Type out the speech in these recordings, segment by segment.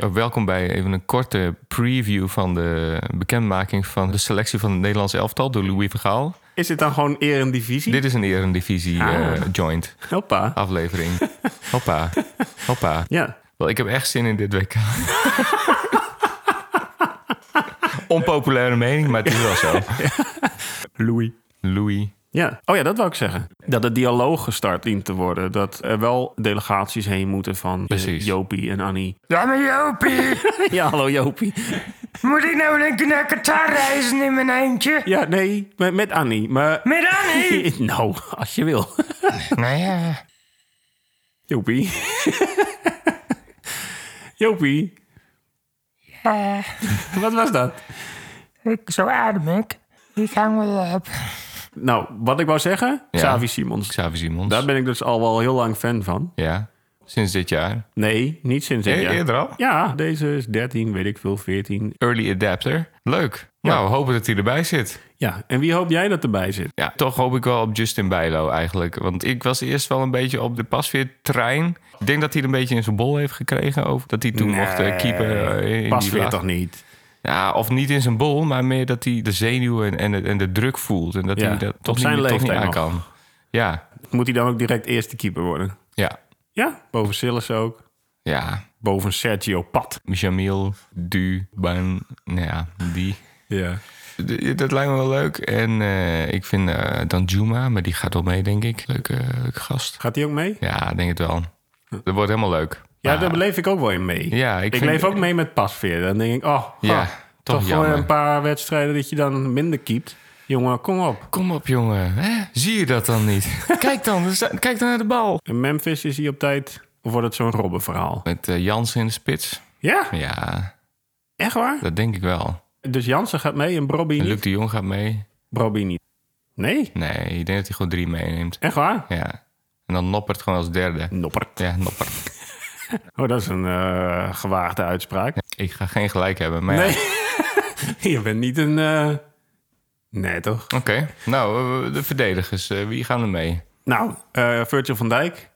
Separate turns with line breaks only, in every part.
Eh, welkom bij even een korte preview van de bekendmaking van de selectie van het Nederlands elftal door Louis Vergaal.
Is dit dan gewoon Eredivisie?
Dit is een Eredivisie
Ah.
eh, joint
Hoppa.
aflevering. Hoppa, hoppa.
Ja.
Wel, ik heb echt zin in dit WK. Onpopulaire mening, maar het is wel zo.
Louis.
Louis.
Ja. Oh ja, dat wou ik zeggen. Dat het dialoog gestart dient te worden. Dat er wel delegaties heen moeten van eh,
Precies.
Jopie en Annie.
Ja, maar Jopie,
ja, hallo Jopie.
moet ik nou denken naar Qatar reizen in mijn eentje?
Ja, nee, met, met Annie. Maar...
Met
nou, als je wil.
Nou ja.
Jopie. Jopie,
Eh,
wat was dat?
ik, zo adem ik. Ik hang wel op.
Nou, wat ik wou zeggen,
Ja.
Xavi Simons.
Xavi Simons.
Daar ben ik dus al wel heel lang fan van.
Ja, sinds dit jaar.
Nee, niet sinds dit
E-
jaar.
Eerder al?
Ja, deze is 13, weet ik veel, 14.
Early adapter. Leuk. Nou, we hopen dat hij erbij zit.
Ja, en wie hoop jij dat erbij zit?
Ja, toch hoop ik wel op Justin Bijlo eigenlijk. Want ik was eerst wel een beetje op de pasveer-trein. Ik denk dat hij het een beetje in zijn bol heeft gekregen. Over dat hij toen mocht eh, keeper eh, in
Pas
die
weer
laag-
toch niet?
Ja, of niet in zijn bol, maar meer dat hij de zenuwen en, en, en de druk voelt. En dat
Ja,
hij dat
op
toch,
zijn
niet, toch niet
leeftijd
aan
nog.
kan. Ja,
Moet hij dan ook direct eerste keeper worden?
ja,
Ja, boven Sillis ook.
ja.
Boven Sergio Pat.
Jamil, Duban, nou ja, die.
Ja.
D- Dat lijkt me wel leuk. En eh, ik vind eh, Danjuma, maar die gaat wel mee, denk ik. Leuke, eh, leuke gast.
Gaat hij ook mee?
Ja, ik denk het wel. Dat wordt helemaal leuk.
Ja,
Maar-
daar leef ik ook wel in mee.
Ah. Ja, ik
ik
vind-
leef ook mee met Pasveer. Dan denk ik, oh,
Ja,
ah,
toch
toch gewoon
jammer.
een paar wedstrijden dat je dan minder keept. Jongen, kom op.
Kom op, jongen. Hè? Zie je dat dan niet? kijk dan, er sta- kijk dan naar de bal.
In Memphis is hij op tijd. Of wordt het zo'n robbenverhaal?
Met eh, Jansen in de spits.
Ja,
Ja,
echt waar?
dat denk ik wel.
Dus Jansen gaat mee en Brobby
En
niet?
Luc de Jong gaat mee.
Brobby niet. Nee,
Nee, ik denk dat hij gewoon drie meeneemt.
echt waar?
Ja. En dan Noppert gewoon als derde.
Noppert.
Ja, Noppert.
Oh, dat is een eh, gewaagde uitspraak.
Ik ga geen gelijk hebben, maar ja.
Nee. je bent niet een... eh, Nee, toch?
Oké, nou, eh, de verdedigers, eh, wie gaan er mee?
Nou, eh, Virgil van Dijk.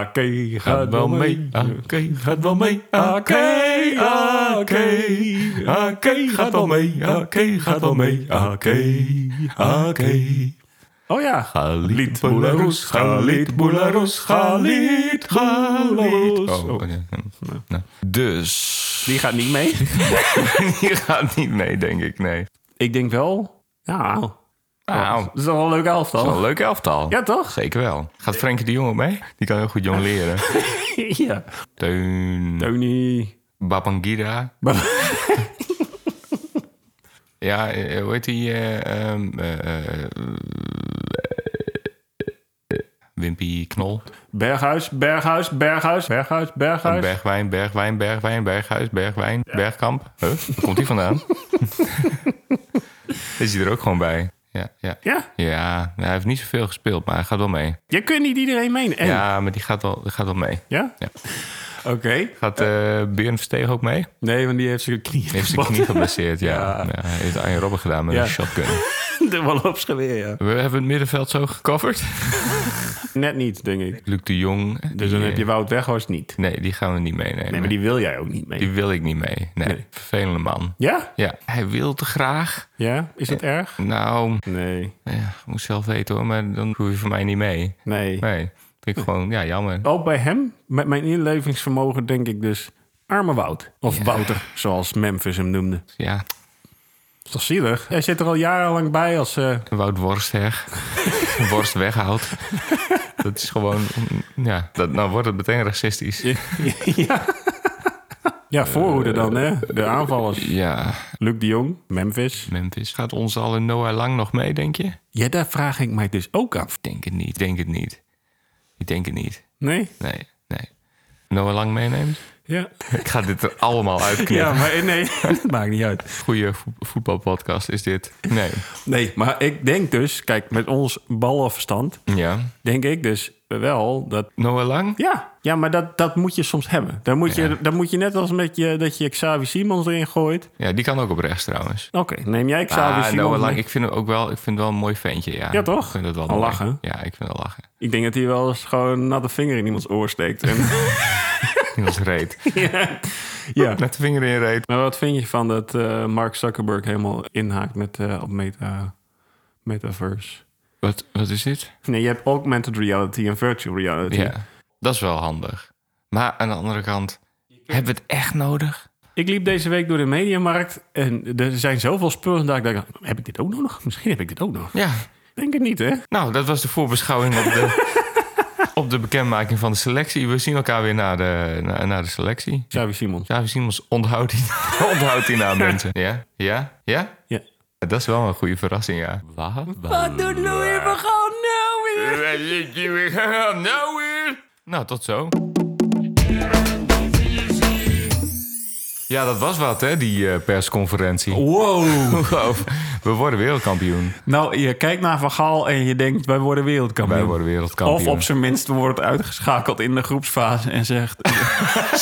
Oké, gaat wel mee.
Oké, gaat wel mee.
Ah,
ah, oké, gaat wel mee. Oké, gaat wel mee. Oké, oké.
Oh ja.
Galit Boularus, Galit Boularus, Galit, Galit.
Oh,
Oh, ja, ja, ja. Dus,
Die gaat niet mee.
die gaat niet mee, denk ik, nee.
ik denk wel... Nou,
Nou,
dat is wel een leuk
wel een
elftal.
leuk elftal.
Ja, toch?
Zeker wel. Gaat Frenkie de Jong ook mee? Die kan heel goed jong leren.
ja.
Teun,
Tony...
Babangida. Ja, eh, hoe heet die? eh, ehm, eh, eh, Wimpy Knol.
Berghuis, Berghuis, Berghuis, Berghuis, Berghuis.
Bergwijn, Bergwijn, Bergwijn, Berghuis, Bergwijn, Bergkamp. Huh? Waar komt die vandaan? Is hij er ook gewoon bij? Ja, ja.
ja,
Ja, nou, hij heeft niet zoveel gespeeld, maar hij gaat wel mee.
je kunt niet iedereen meen. En, ja?
Ja, maar die gaat wel, die gaat wel mee. Ja.
Oké.
Gaat eh Björn Versteeg ook mee?
Nee, want die heeft zijn knieën
Heeft zijn knie geblesseerd, ja.
Ja.
ja. hij heeft Arjen Robben gedaan met
Ja.
een shotgun.
De wallopsgeweer, ja.
We hebben het middenveld zo gecoverd.
Net niet, denk ik.
Luc de Jong.
Dus dan heb je Wout Weghorst niet.
Nee, die gaan we niet meenemen.
Nee, maar
die...
die wil jij ook niet mee.
wil ik niet mee. Nee,
Nee.
vervelende man.
Ja?
Ja, hij wil te graag.
Ja? Is dat erg?
Nou,
Nee.
ja, moet zelf weten hoor, maar dan hoef je voor mij niet mee.
Nee.
Nee, vind ik gewoon, ja, jammer.
Ook bij hem, met mijn inlevingsvermogen, denk ik dus... Arme Wout. Of Wouter, zoals Memphis hem noemde.
Ja,
Dat is toch zielig? Hij zit er al jarenlang bij als... eh,
Wout Worstheg. Worst weghoudt. dat is gewoon, mm, ja, dat, nou wordt het meteen racistisch. Ja,
ja. ja, voorhoede dan, hè? De aanvallers. Luc de Jong, Memphis.
Memphis. Gaat ons al een Noah Lang nog mee, denk je?
Ja, daar vraag ik mij dus ook af.
Ik denk het niet, ik denk het niet. Ik denk het niet.
Nee?
Nee, nee. Noah Lang meeneemt?
Ja.
Ik ga dit er allemaal uitknippen.
Ja, maar nee, maakt niet uit.
Goeie vo- voetbalpodcast is dit. Nee.
Nee, maar ik denk dus, kijk, met ons ballenverstand
Ja.
denk ik dus wel dat...
Noah Lang?
Ja, ja maar dat, dat moet je soms hebben. Dan moet, je, dan moet je net als met je, dat je Xavi Simons erin gooit.
Ja, die kan ook op rechts trouwens.
Oké, neem jij Xavi
Ah,
Simons
Noah Lang,
mee?
ik vind hem ook wel, ik vind het wel een mooi ventje. Ja,
Ja, toch?
Ik vind het wel
Al
mooi.
lachen.
Ja, ik vind het lachen.
Ik denk dat hij wel eens gewoon een natte vinger in iemands oor steekt. En,
Dat is reet.
ja.
Met de vinger in reet.
Maar wat vind je van dat eh, Mark Zuckerberg helemaal inhaakt met, eh, op meta, metaverse?
Wat, wat is dit?
Nee, je hebt augmented reality en virtual reality.
Ja, dat is wel handig. Maar aan de andere kant, hebben we het echt nodig?
Ik liep deze week door de mediamarkt en er zijn zoveel spullen dat ik dacht, heb ik dit ook nodig? Misschien heb ik dit ook nog.
Ja,
Denk het niet, hè?
nou, dat was de voorbeschouwing op de, op de bekendmaking van de selectie. We zien elkaar weer na de, na, na de selectie.
Xavi Simons.
Xavi Simons, onthoud die, onthoud die naam, mensen. Ja, ja, ja.
Ja.
Dat is wel een goede verrassing, ja. Wat?
doet Louis van Gaal nou weer?
Nou weer. Nou, tot zo. Ja, dat was wat, hè, die eh, persconferentie.
Wow.
Wow, we worden wereldkampioen.
Nou, je kijkt naar Van Gaal en je denkt, wij worden wereldkampioen.
Wij worden wereldkampioen.
Of op zijn minst wordt uitgeschakeld in de groepsfase en zegt,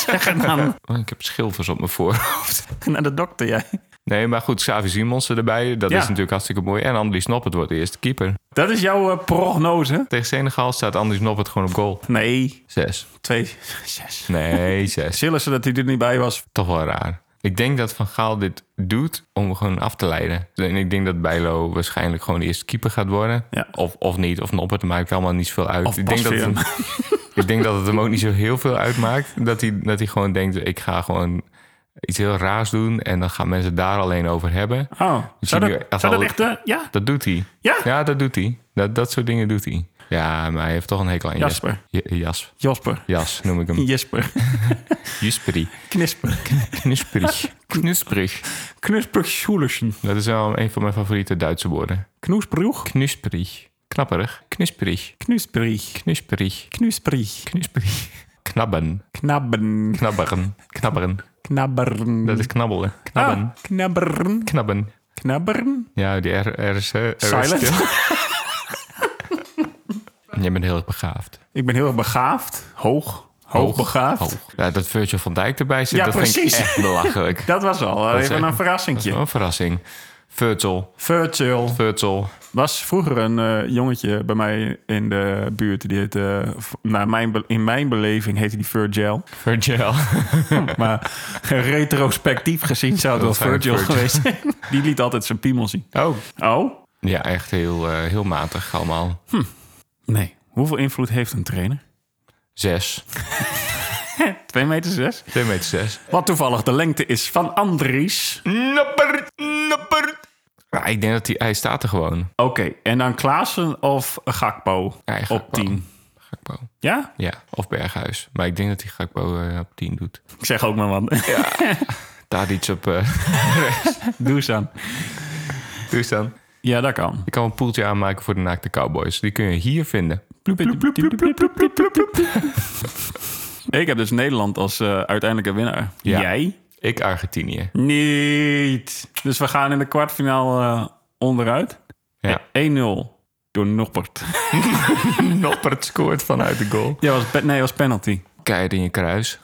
zeg het aan,
Oh, ik heb schilfers op mijn voorhoofd.
naar de dokter jij.
Nee, maar goed, Xavi Simons erbij. Dat
Ja.
is natuurlijk hartstikke mooi. En Andries Noppert wordt de eerste keeper.
Dat is jouw eh, prognose?
Tegen Senegal staat Andries Noppert gewoon op goal.
Nee,
Zes.
twee, zes.
Nee, zes.
Chillen ze dat hij er niet bij was.
Toch wel raar. Ik denk dat Van Gaal dit doet om gewoon af te leiden. En ik denk dat Bijlo waarschijnlijk gewoon de eerste keeper gaat worden.
Ja.
Of, of niet, of Noppert, maakt allemaal niet zoveel uit.
Of
ik, denk dat
Pasveer.
het, ik denk dat het hem ook niet zo heel veel uitmaakt. Dat hij, dat hij gewoon denkt, ik ga gewoon iets heel raars doen... en dan gaan mensen het daar alleen over hebben.
Oh, zou
zie
dat,
nu echt
zou dat
al-
echt... eh, ja,
Dat doet hij.
Ja?
Ja, dat doet hij. Dat, dat soort dingen doet hij. Ja, maar hij heeft toch een hekel aan
Jasper.
Jes- Jas.
Jasper.
Jas noem ik hem.
Jesper.
Jasperi.
Knisper.
Knusperig. Knusperig.
Knisper Schulersen.
Dat is wel een van mijn favoriete Duitse woorden.
Knoesproeg.
Knusperig. Knapperig. Knusperig.
Knusperig.
Knusperig.
Knusperig.
Knusperig. Knabben.
Knabben.
Knabberen. Knabberen.
Knabberen.
Dat is knabbelen. Knabben.
Ah, knabberen.
Knabben.
Knabberen.
Ja, die R, R is... eh, R is
Silent.
stil. Jij bent heel erg begaafd.
Ik ben heel erg begaafd. Hoog. Hoog begaafd.
Hoog. Ja, dat Virgil van Dijk erbij zit,
Ja,
dat vind ik
precies.
echt belachelijk.
Dat was al
is
even
echt-
een
Dat is
verrassingje.
wel een verrassing. Virgil,
Virtual.
Virgil.
was vroeger een eh, jongetje bij mij in de buurt. Die heette, eh, v- naar mijn, be- in mijn beleving heette die Virgil.
Virgil.
Maar retrospectief gezien zou het wel
Dat zijn
Virgil
Virgil.
geweest zijn. Die liet altijd zijn piemel zien.
Oh.
Oh?
Ja, echt heel, eh, heel matig allemaal.
Nee. Hoeveel invloed heeft een trainer?
Zes.
2 meter 6.
Twee meter zes.
Wat toevallig de lengte is van Andries.
Noppert, noppert. Maar ik denk dat hij... Hij staat er gewoon.
Oké, en dan Klaassen of Gakpo
Ja, hij
op
Gakpo.
10.
Gakpo.
Ja?
Ja, of Berghuis. Maar ik denk dat hij Gakpo eh, op tien doet.
Ik zeg ook maar wat.
Daar iets op... eh
Doe eens aan.
doe eens dan.
Ja, dat kan.
Ik kan een poeltje aanmaken voor de naakte cowboys. Die kun je hier vinden.
Ik heb dus Nederland als eh, uiteindelijke winnaar.
Ja.
Jij?
Ik Argentinië.
Niet. Dus we gaan in de kwartfinale eh, onderuit.
Ja.
1-0 door Noppert.
Noppert scoort vanuit de goal.
Ja, was pe- nee, was penalty.
Keihard in je kruis.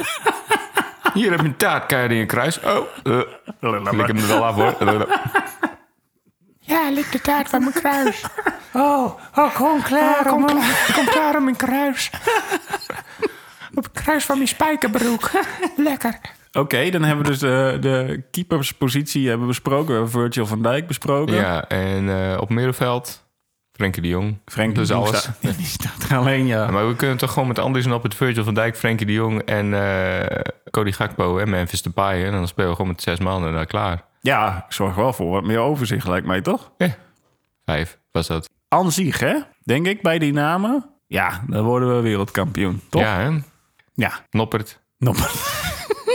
Hier heb je een taart, keihard in je kruis. Oh, eh, lik hem er wel af hoor.
Ja, lik de taart van mijn kruis.
Oh, oh, gewoon klaar.
Kom klaar, kom klaar om mijn kruis. Op het kruis van mijn spijkerbroek. Lekker.
Oké, dan hebben we dus de, de keeperspositie hebben we besproken. We hebben Virgil van Dijk besproken.
Ja, en eh, op middenveld Frenkie de Jong.
Frank
dus
die
alles.
staat- Die staat er alleen, ja.
Maar we kunnen toch gewoon met Andries op het Virgil van Dijk, Frenkie de Jong en eh, Cody Gakpo en Memphis Depay. En dan spelen we gewoon met zes man en dan klaar.
Ja, ik zorg wel voor wat meer overzicht, lijkt mij toch?
Ja. Eh, Vijf was dat.
An zich, hè? Denk ik bij die namen. Ja, dan worden we wereldkampioen, toch?
Ja, hè?
Ja.
Noppert,
Noppert.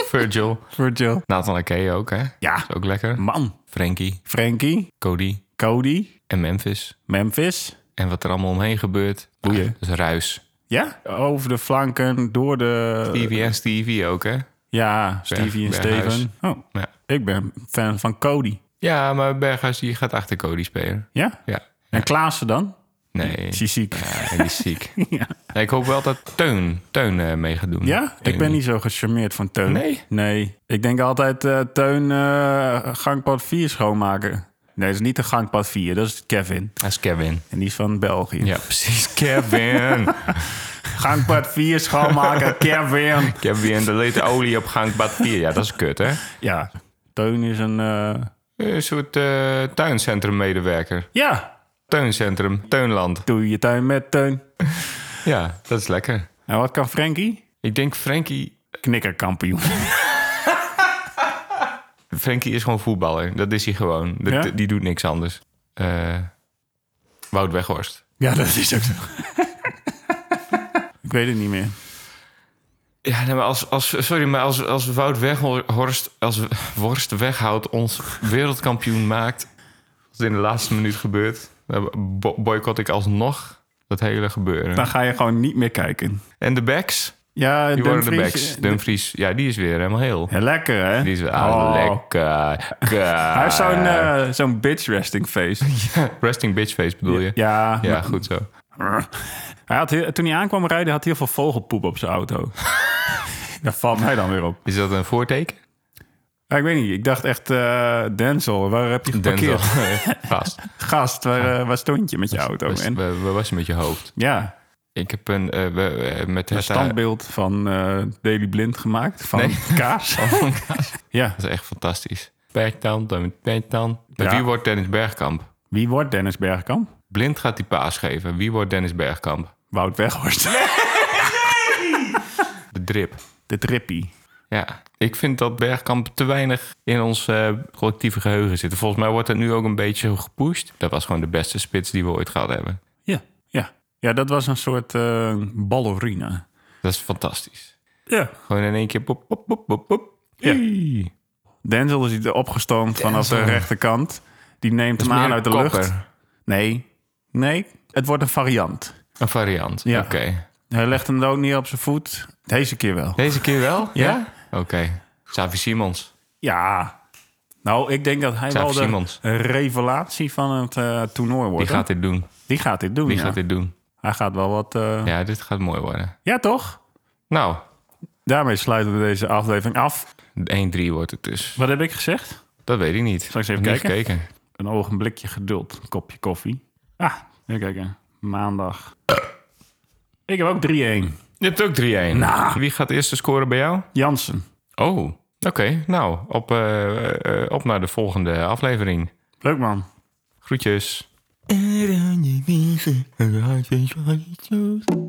Virgil,
Virgil.
Nathan Ake ook, hè?
Ja,
Is ook lekker.
man.
Frenkie,
Frankie,
Cody
Cody,
en Memphis.
Memphis.
En wat er allemaal omheen gebeurt.
Boeien.
Ah, dat is ruis.
Ja? Over de flanken, door de...
Stevie en Stevie ook, hè?
Ja, Stevie en
Berghuis.
Steven. Oh,
Ja.
ik ben fan van Cody.
Ja, maar Berghuis die gaat achter Cody spelen.
Ja?
Ja.
En Klaassen dan?
Nee.
Is hij ziek?
Ja, die is ziek.
Ja.
Nee, ik hoop wel dat Teun, Teun eh, mee gaat doen.
Ja? Ik ben niet zo gecharmeerd van Teun.
Nee?
Nee. Ik denk altijd eh, Teun eh, gangpad 4 schoonmaken. Nee, dat is niet de gangpad 4. Dat is Kevin.
Dat is Kevin.
En die is van België.
Ja, precies. Kevin.
Gangpad 4 schoonmaken, Kevin.
Kevin, de late olie op gangpad 4. Ja, dat is kut, hè?
Ja. Teun is een... eh,
Een soort eh tuincentrummedewerker.
Ja.
Tuincentrum, Teunland.
Doe je tuin met Teun.
Ja, dat is lekker.
En wat kan Frankie?
Ik denk Frankie...
Knikkerkampioen.
Frankie is gewoon voetballer. Dat is hij gewoon. Dat-
Ja?
Die doet niks anders. Eh, Wout Weghorst.
Ja, dat is ook zo. ik weet het niet meer.
Ja, nee, maar als, als, sorry, maar als, als Wout Weghorst, als Worst weghoudt, ons wereldkampioen maakt, als het in de laatste minuut gebeurt, dan bo- boycott ik alsnog dat hele gebeuren.
Dan ga je gewoon niet meer kijken.
En de backs?
Ja,
Die worden de
Dumfries- eh,
backs. Dumfries, ja, die is weer helemaal heel.
Ja, lekker, hè?
Die is weer ah,
Oh.
lekker.
Hij heeft zo'n
Ah.
eh, zo'n bitch resting face.
Resting bitch face bedoel je?
Ja.
Ja, goed zo.
Hij had heel- toen hij aankwam rijden, had hij heel veel vogelpoep op zijn auto. Dat valt mij dan weer op.
Is dat een voorteken?
Ja, ik weet niet, ik dacht echt... eh Denzel, waar heb je Oh, geparkeerd?
Denzel. Eh, Vast. Dus
Gast, waar, eh, waar stond je met je auto?
Was-
En,
Waar waar was je met je hoofd?
ja,
Ik heb een... eh, we- we- met
een
het
standbeeld van eh Daily Blind gemaakt. Van
Nee.
kaas. ja,
Dat is echt fantastisch. Bergkamp, dan met Bergkamp. Maar
Ja.
Wie wordt Dennis Bergkamp?
wie wordt Dennis Bergkamp?
Blind gaat die paas geven. Wie wordt Dennis Bergkamp?
Wout Weghorst.
De drip.
De trippie.
Ja, ik vind dat Bergkamp te weinig in ons eh, collectieve geheugen zit. Volgens mij wordt het nu ook een beetje gepusht. Dat was gewoon de beste spits die we ooit gehad hebben.
Ja. Ja, ja dat was een soort eh ballerina.
Dat is fantastisch.
Ja.
Gewoon in één keer pop, pop, pop, pop, pop.
Ja.
Hey.
Denzel is hier opgestormd vanaf de rechterkant. Die neemt hem
meer
aan uit de
kopper.
lucht. Nee, nee, het wordt een variant.
Een variant.
Ja.
Oké.
Hij legt hem ook niet op zijn voet. Deze keer wel.
Deze keer wel?
Ja?
Oké. Xavi Simons.
Ja. Nou, ik denk dat hij
Xavi
wel de
Simons.
revelatie van het eh, toernooi wordt.
Die gaat dit doen.
Die gaat dit doen,
Die
ja.
gaat dit doen.
Hij gaat wel wat... eh, ja.
Ja, dit gaat mooi worden.
toch?
Nou,
Daarmee sluiten we deze aflevering af.
1-3 wordt het dus.
Wat heb ik gezegd?
Dat weet ik niet. Zal
ik eens even
niet
kijken?
gekeken.
Een ogenblikje geduld. Een kopje koffie. Ah, even kijken. Maandag. Ik heb ook 3-1.
Je hebt ook 3-1.
Nou.
Wie gaat eerst scoren bij jou?
Jansen.
Oh, oké. Nou, op, eh, eh, op naar de volgende aflevering.
Leuk man.
Groetjes.
I don't need me, I just want you.